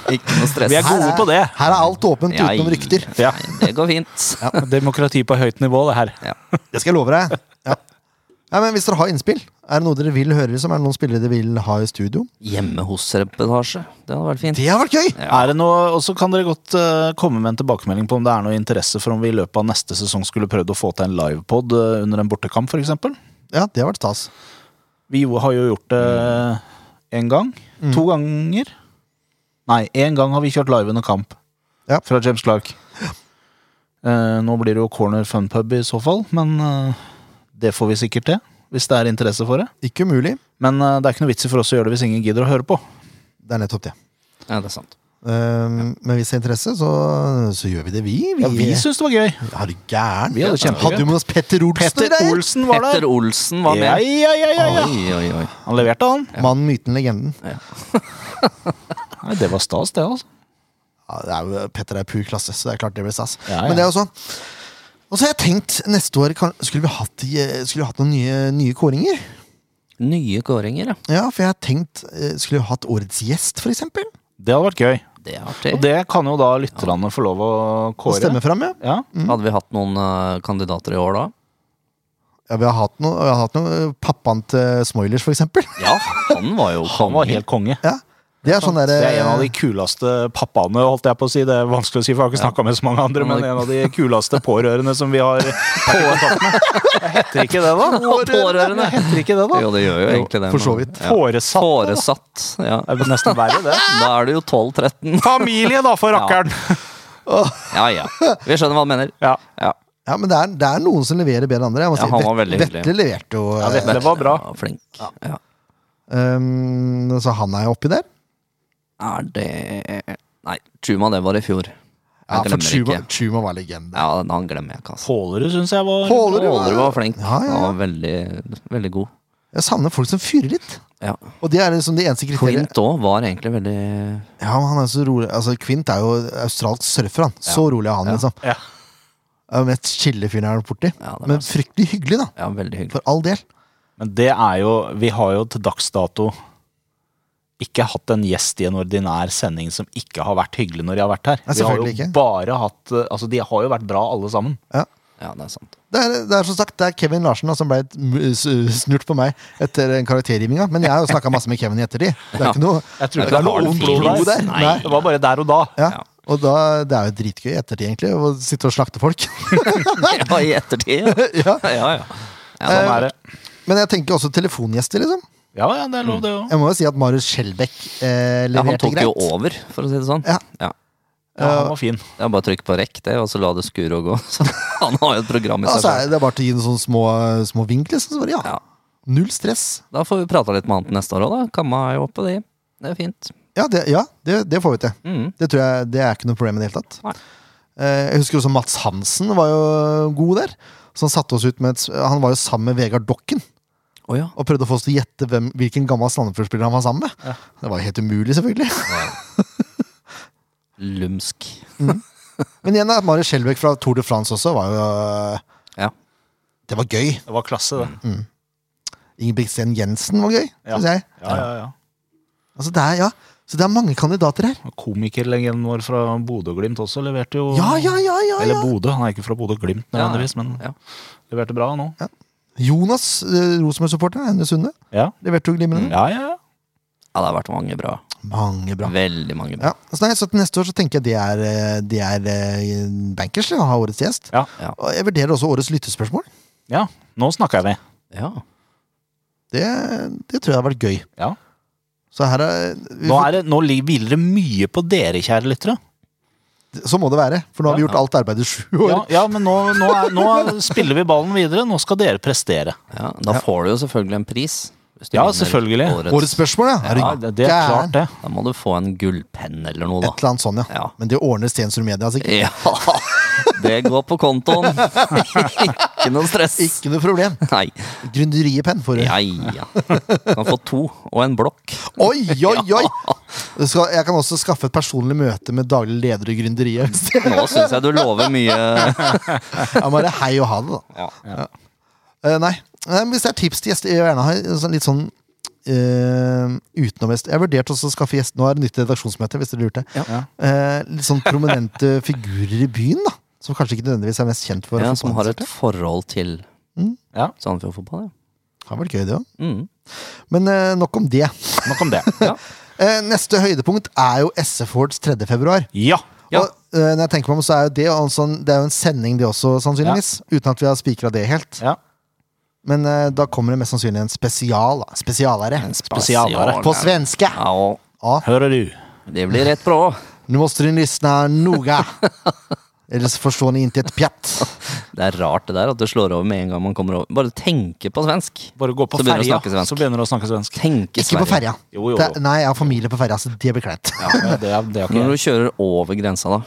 S2: Ikke noe stress.
S3: Vi er gode på det.
S1: Her er alt åpent
S2: Ja,
S1: utenom rykter.
S3: Ja.
S2: Nei, det går fint.
S3: Demokrati på høyt nivå, det her.
S2: Ja.
S1: Det skal jeg love deg. Ja. Ja, men hvis dere har innspill, er det noe dere vil høre? Liksom? Er det noen spillere dere vil ha i studio?
S2: Hjemme hos-reportasje. Det hadde vært fint.
S1: Det har vært gøy!
S2: Ja.
S3: Er det noe, og så kan dere godt eh, komme med en tilbakemelding på om det er noe interesse for om vi i løpet av neste sesong skulle prøvd å få til en livepod eh, under en bortekamp, f.eks.
S1: Ja, det har vært stas.
S3: Vi jo, har jo gjort det én gang. To ganger. Nei, én gang har vi kjørt live under kamp.
S1: Ja.
S3: Fra James Clark. Eh, nå blir det jo corner fun pub i så fall, men eh, det får vi sikkert til. Hvis det er interesse for det.
S1: Ikke umulig.
S3: Men eh, det er ikke noe vits i for oss å gjøre det hvis ingen gidder å høre på.
S1: Det er nettopp det.
S2: Ja, det er sant.
S1: Um, men hvis det er interesse, så, så gjør vi det, vi. vi
S3: Ja, vi syns det var gøy.
S1: Er du gæren?
S3: Vi hadde kjempegøy.
S1: Hadde jo med oss Petter Olsen og
S3: Petter
S1: greier!
S3: Olsen var der.
S2: Petter Olsen var
S3: Ja,
S2: med.
S3: ja, ja, ja, ja.
S2: Oi, oi, oi.
S3: Han leverte, han.
S1: Mannen, myten, legenden.
S3: Nei, det var stas, det, altså.
S1: Ja, det er jo, Petter er pur klasse, så det er klart det blir stas.
S3: Ja, ja.
S1: Men det er jo sånn. Og så har jeg tenkt, neste år kan, skulle, vi hatt, eh, skulle vi hatt noen nye, nye kåringer?
S2: Nye kåringer, ja.
S1: Ja, for jeg har tenkt eh, Skulle vi hatt årets gjest, for eksempel?
S3: Det hadde vært gøy.
S2: Det er artig.
S3: Og det kan jo da lytterne få lov å
S1: Og
S3: kåre.
S1: stemme fram, ja.
S3: Ja.
S1: Mm.
S2: Hadde vi hatt noen eh, kandidater i år da?
S1: ja. Vi har hatt noe, vi har hatt noe eh, Pappaen til Smoilers, for eksempel. *laughs*
S2: Ja, *laughs* han var jo
S3: Han var helt konge.
S1: Ja. Det er sånn
S3: Det
S1: derre
S3: er en av de kuleste pappaene, holdt jeg på å si. Det er vanskelig å si, for jeg har ikke snakka med så mange andre, men en av de kuleste pårørende som vi *laughs* har på kontakt med. Heter ikke det, da?
S2: Pårørende.
S3: Heter ikke det, da?
S2: Jo, det gjør jo egentlig det.
S1: for
S2: men-
S1: så vidt.
S2: Ja.
S3: Foresatt.
S2: Foresatt. Ja.
S3: Det er vel nesten verre, det.
S2: Da er det jo 12-13.
S3: Familie, da, for rakkeren!
S2: *laughs* Ja ja. Vi skjønner hva han mener.
S3: Ja.
S2: Ja,
S1: Ja, men det er, det er noen som leverer bedre enn andre. Jeg må
S2: Ja,
S1: si.
S2: han var
S1: Vet-
S2: veldig hyggelig.
S1: Vetle leverte jo
S3: Ja,
S1: eh,
S3: Vetle. Det var bra.
S2: Ja, flink. Ja.
S1: um, Så han er jo oppi der.
S2: Er det Nei, Tjuma, det var i fjor. Jeg
S1: Ja, for
S2: glemmer
S1: Tjuma,
S2: ikke.
S1: Tjuma var legende.
S2: Ja, den- han glemmer jeg ikke, altså.
S3: Pålerud syns jeg var
S1: Pålerud var-
S2: Ålerud var flink.
S1: Ja, ja, ja.
S2: Han var veldig, veldig god.
S1: Jeg savner folk som fyrer litt.
S2: Ja.
S1: Og det er liksom det eneste kriteriet.
S2: Clint òg var egentlig veldig
S1: Ja, men han er så rolig Altså, Quint er jo australsk surfer, han. Så rolig er han, liksom.
S3: Ja.
S1: Den mest chille fyren jeg har vært borti.
S2: Ja, det er
S1: men fryktelig hyggelig, da.
S2: Ja, veldig hyggelig.
S1: For all del.
S3: Men det er jo Vi har jo til dags dato ikke hatt en gjest i en ordinær sending som ikke har vært hyggelig når de har vært her.
S1: Nei,
S3: vi har jo
S1: selvfølgelig ikke.
S3: bare hatt eh, Altså, de har jo vært bra, alle sammen.
S1: Ja.
S2: Ja, det er sant.
S1: Det er, det er som sagt, det er Kevin Larsen da, som ble et m- s- snurt på meg etter den karaktergivninga. Men jeg har jo snakka masse med Kevin i ettertid. Det er ikke noe
S3: Jeg tror
S2: Nei,
S3: ikke det
S2: det
S3: er noe
S2: var
S3: ondt
S2: det fint.
S3: blod der.
S2: Nei.
S3: Nei. Det var bare der og da.
S1: ja.
S2: Ja.
S1: Og da, det er jo dritgøy i ettertid, egentlig, å sitte og slakte folk. *laughs*
S2: Ja, i ettertid, ja.
S1: ja.
S2: ja, ja. ja
S3: Sånn
S2: da-
S3: er det.
S1: Men jeg tenker også telefongjester, liksom.
S3: Ja, ja, det er lov, det òg.
S1: Jeg må jo si at Marius Skjelbæk eh,
S2: ja, han
S1: leverte
S2: tok jo
S1: greit.
S2: over, for å si det sånn.
S1: Ja.
S2: Ja.
S3: Ja, han var fin.
S2: Det er bare å trykke på rekk, det, og så la det skure og gå. *laughs* Så han har jo et program i
S1: Ja, så
S2: seg selv.
S1: er Altså, det bare til å gi noen sånne små, små vink, liksom. Så bare, ja.
S2: Ja.
S1: Null stress.
S2: Da får vi prata litt med han til neste år òg, da. Kamma er jo oppe, det. Det er fint.
S1: Ja, det, ja, det, det får vi til.
S2: Mm.
S1: Det tror jeg, det er ikke noe problem i det hele tatt.
S2: Nei.
S1: Eh, Jeg husker også Mats Hansen var jo god der. Så han satte oss ut med et, s- Han var jo sammen med Vegard Dokken.
S2: Å ja.
S1: og prøvde å få oss til å gjette hvem, hvilken gammel Sandefjord-spiller han var sammen med. Det var jo helt umulig, selvfølgelig. *laughs*
S2: Lumsk.
S1: Men igjen, da, Marius Skjelbæk fra Tour de France også var jo eh,
S2: Ja.
S1: Det var gøy.
S3: Det var klasse, det.
S1: Ingebrigtsen Jensen var gøy,
S3: Ja.
S1: syns jeg.
S3: Ja, ja, ja.
S1: Altså, det er, ja. Så det er mange kandidater her.
S3: Og Komikerlegenden vår fra Bodø-Glimt også leverte jo
S1: Ja, ja, ja, ja,
S3: Eller
S1: ja.
S3: Bodø, han er ikke fra Bodø-Glimt nødvendigvis, men
S2: ja.
S3: leverte bra nå.
S1: Jonas, eh, Rosenborg-supporter, Hennes Sunde.
S3: Ja,
S1: Leverte jo glimrende.
S3: Mm, ja, ja. ja.
S2: ja, det har vært mange bra.
S1: Mange bra.
S2: Veldig mange bra.
S1: Ja, så, nei, så til neste år så tenker jeg det er, eh, det er eh, bankers til å ha årets gjest.
S3: Ja.
S2: Ja.
S1: Og jeg vurderer også årets lyttespørsmål.
S3: ja. Nå snakker vi.
S2: Ja.
S1: Det, det tror jeg har vært gøy.
S3: Ja.
S1: Så her er, vi
S3: Nå,
S1: får-
S3: er det, nå li- hviler det mye på dere, kjære lyttere.
S1: Så må det være, for nå har vi gjort alt arbeidet i sju år.
S3: Ja, ja men nå, nå, er, nå er- spiller vi ballen videre. Nå skal dere prestere.
S2: ja. Da får du jo selvfølgelig en pris. hvis du
S3: Ja,
S2: vinner
S3: selvfølgelig.
S2: Årets.
S1: Årets spørsmål, ja. Er du
S3: Ja, det, det er
S1: gæren?
S3: klart, det.
S2: Da må du få en gullpenn eller noe,
S1: Et
S2: da.
S1: eller annet sånt, ja.
S2: Ja.
S1: Men det ordner Stensrud Media altså. sikkert.
S2: Ja, *laughs* det går på kontoen. Ikke noe stress.
S1: Ikke noe problem.
S2: Nei.
S1: Gründeriet-penn får du.
S2: Ja, ja. Kan få to og en blokk.
S1: Oi,
S3: *laughs*
S1: oi, oi! Det Skal, jeg kan også skaffe et personlig møte med daglig leder i Gründeriet.
S3: *laughs*
S1: hvis det-
S2: Nå syns jeg du lover mye.
S1: Ja, bare hei og ha det, da.
S2: Ja.
S1: Eh, nei. Nei, men Hvis det er tips til gjester, jeg vil gjerne ha sånn, litt sånn Uh, utenom gjest. Jeg vurderte også å skaffe gjest Nå er det nytt redaksjonsmøte, hvis dere lurte.
S2: Ja.
S1: Eh, litt sånn
S2: *laughs*
S1: prominente figurer i byen, da. Som kanskje ikke nødvendigvis er mest kjent for
S2: Ja, som har
S1: fotballinteresserte.
S2: et forhold til
S3: Ja.
S2: Sandefjord fotball. Ja.
S1: Det har vært gøy, det òg.
S2: Mm.
S1: Men eh, nok om det.
S3: Nok om det.
S2: ja.
S1: Eh, neste høydepunkt er jo SF Awards 3. februar.
S3: Ja.
S2: Ja.
S1: Og, eh, når jeg tenker meg om, så er jo det, en sånn, det er jo en sending, det også, sannsynligvis. Uten at vi har spikra det helt.
S3: ja.
S1: Men eh, da kommer det mest sannsynlig en spesial. da. Spesialare.
S3: Spesialare.
S1: På svenske!
S2: Ja, og
S1: Ja.
S3: Hører du?
S2: det blir rett bra.
S1: Nu måste ni lyssna noga. Ellers forstår ni inte ett pjatt.
S2: Det er rart det der at det slår over med en gang man kommer over. Bare tenke på svensk.
S3: Bare gå på
S2: Så begynner du å
S3: ferja,
S2: snakke svensk.
S3: så begynner du å snakke svensk.
S2: Tenke
S1: Ikke på
S2: Sverige.
S1: ferja.
S3: Jo, jo, jo.
S1: Det- Nei, jeg har familie på ferja, så det blir kleint.
S3: Ja, det er, det er
S2: Når
S3: ikke
S2: du kjører over grensa, da.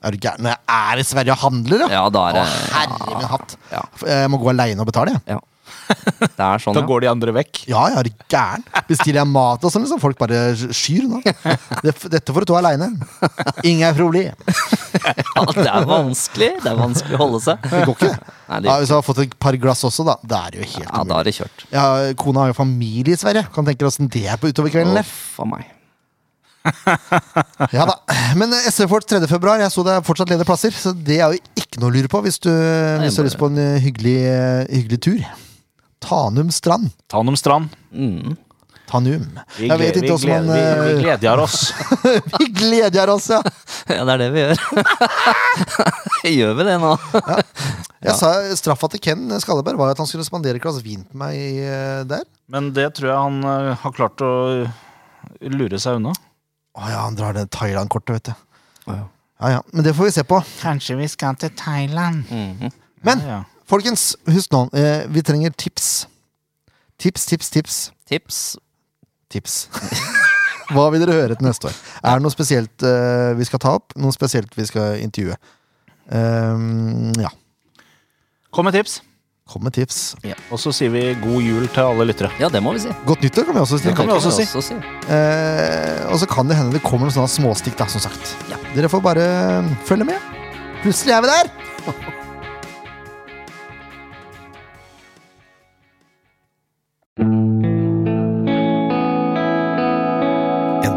S1: Er du gæren? Når jeg er i Sverige og handler, da.
S2: Ja, da er
S1: Å,
S2: det
S1: herre min hatt.
S2: Ja.
S1: Jeg må gå aleine og betale, jeg.
S2: ja. Det er sånn,
S3: Da
S2: ja.
S3: går de andre vekk.
S1: Ja, jeg er du gæren. Bestiller jeg mat og sånn, liksom. Folk bare skyr unna. Det- Dette får du ta aleine. Inga problem.
S2: *laughs* ja. Det er vanskelig. Det er vanskelig å holde seg.
S1: Det går ikke, det.
S2: Nei, det
S1: Ja, hvis jeg har fått et par glass også, da. Det er det jo helt
S2: Ja, da
S1: umulig.
S2: er det kjørt.
S1: Ja, kona har jo familie i Sverige. Kan tenke deg åssen det er på utover kvelden. eller?
S2: Uff a meg.
S1: Ja da. Men eh, SF Fort 3. februar, jeg så det er fortsatt ledige plasser. Så det er jo ikke noe å lure på hvis du, hvis du har
S2: bare-
S1: lyst på en eh, hyggelig, eh, hyggelig tur. Tanum strand.
S3: Tanum strand.
S2: Mm.
S1: Tanum.
S3: Vi,
S1: jeg vet
S3: gleder-
S1: ikke
S3: vi,
S1: hvordan
S3: gleder,
S1: man
S3: vi, vi
S1: eh,
S3: gleder oss.
S1: *laughs* Vi gleder oss, ja!
S2: *laughs* Ja, det er det vi gjør. gjør vi det nå?
S1: Jeg sa eh, straffa til Ken Skalleberg var jo at han skulle spandere et glass vin på meg eh, der.
S3: Men det tror jeg han eh, har klart å eh, lure seg unna.
S1: Å ja, han drar det Thailand-kortet, vet du.
S2: Ja.
S1: Ja ja. Men det får vi se på.
S3: Kanskje vi skal til Thailand.
S2: Mhm.
S1: Men
S3: Ja.
S1: folkens, husk nå, eh, vi trenger tips. Tips, tips, tips.
S2: Tips?
S1: tips. *laughs* Hva vil dere høre til neste år? Er det noe spesielt eh, vi skal ta opp? Noe spesielt vi skal intervjue? Ehm, ja.
S3: Kom med tips.
S1: Kom med tips.
S3: Og så sier vi god jul til alle lyttere.
S2: Ja, det må vi si.
S1: Godt nyttår kan vi også si.
S3: kan vi også si.
S1: Eh, og så kan det hende det kommer noen sånne småstikk, da, som sagt.
S2: Ja.
S1: Dere får bare eh, følge med. Plutselig er vi der! En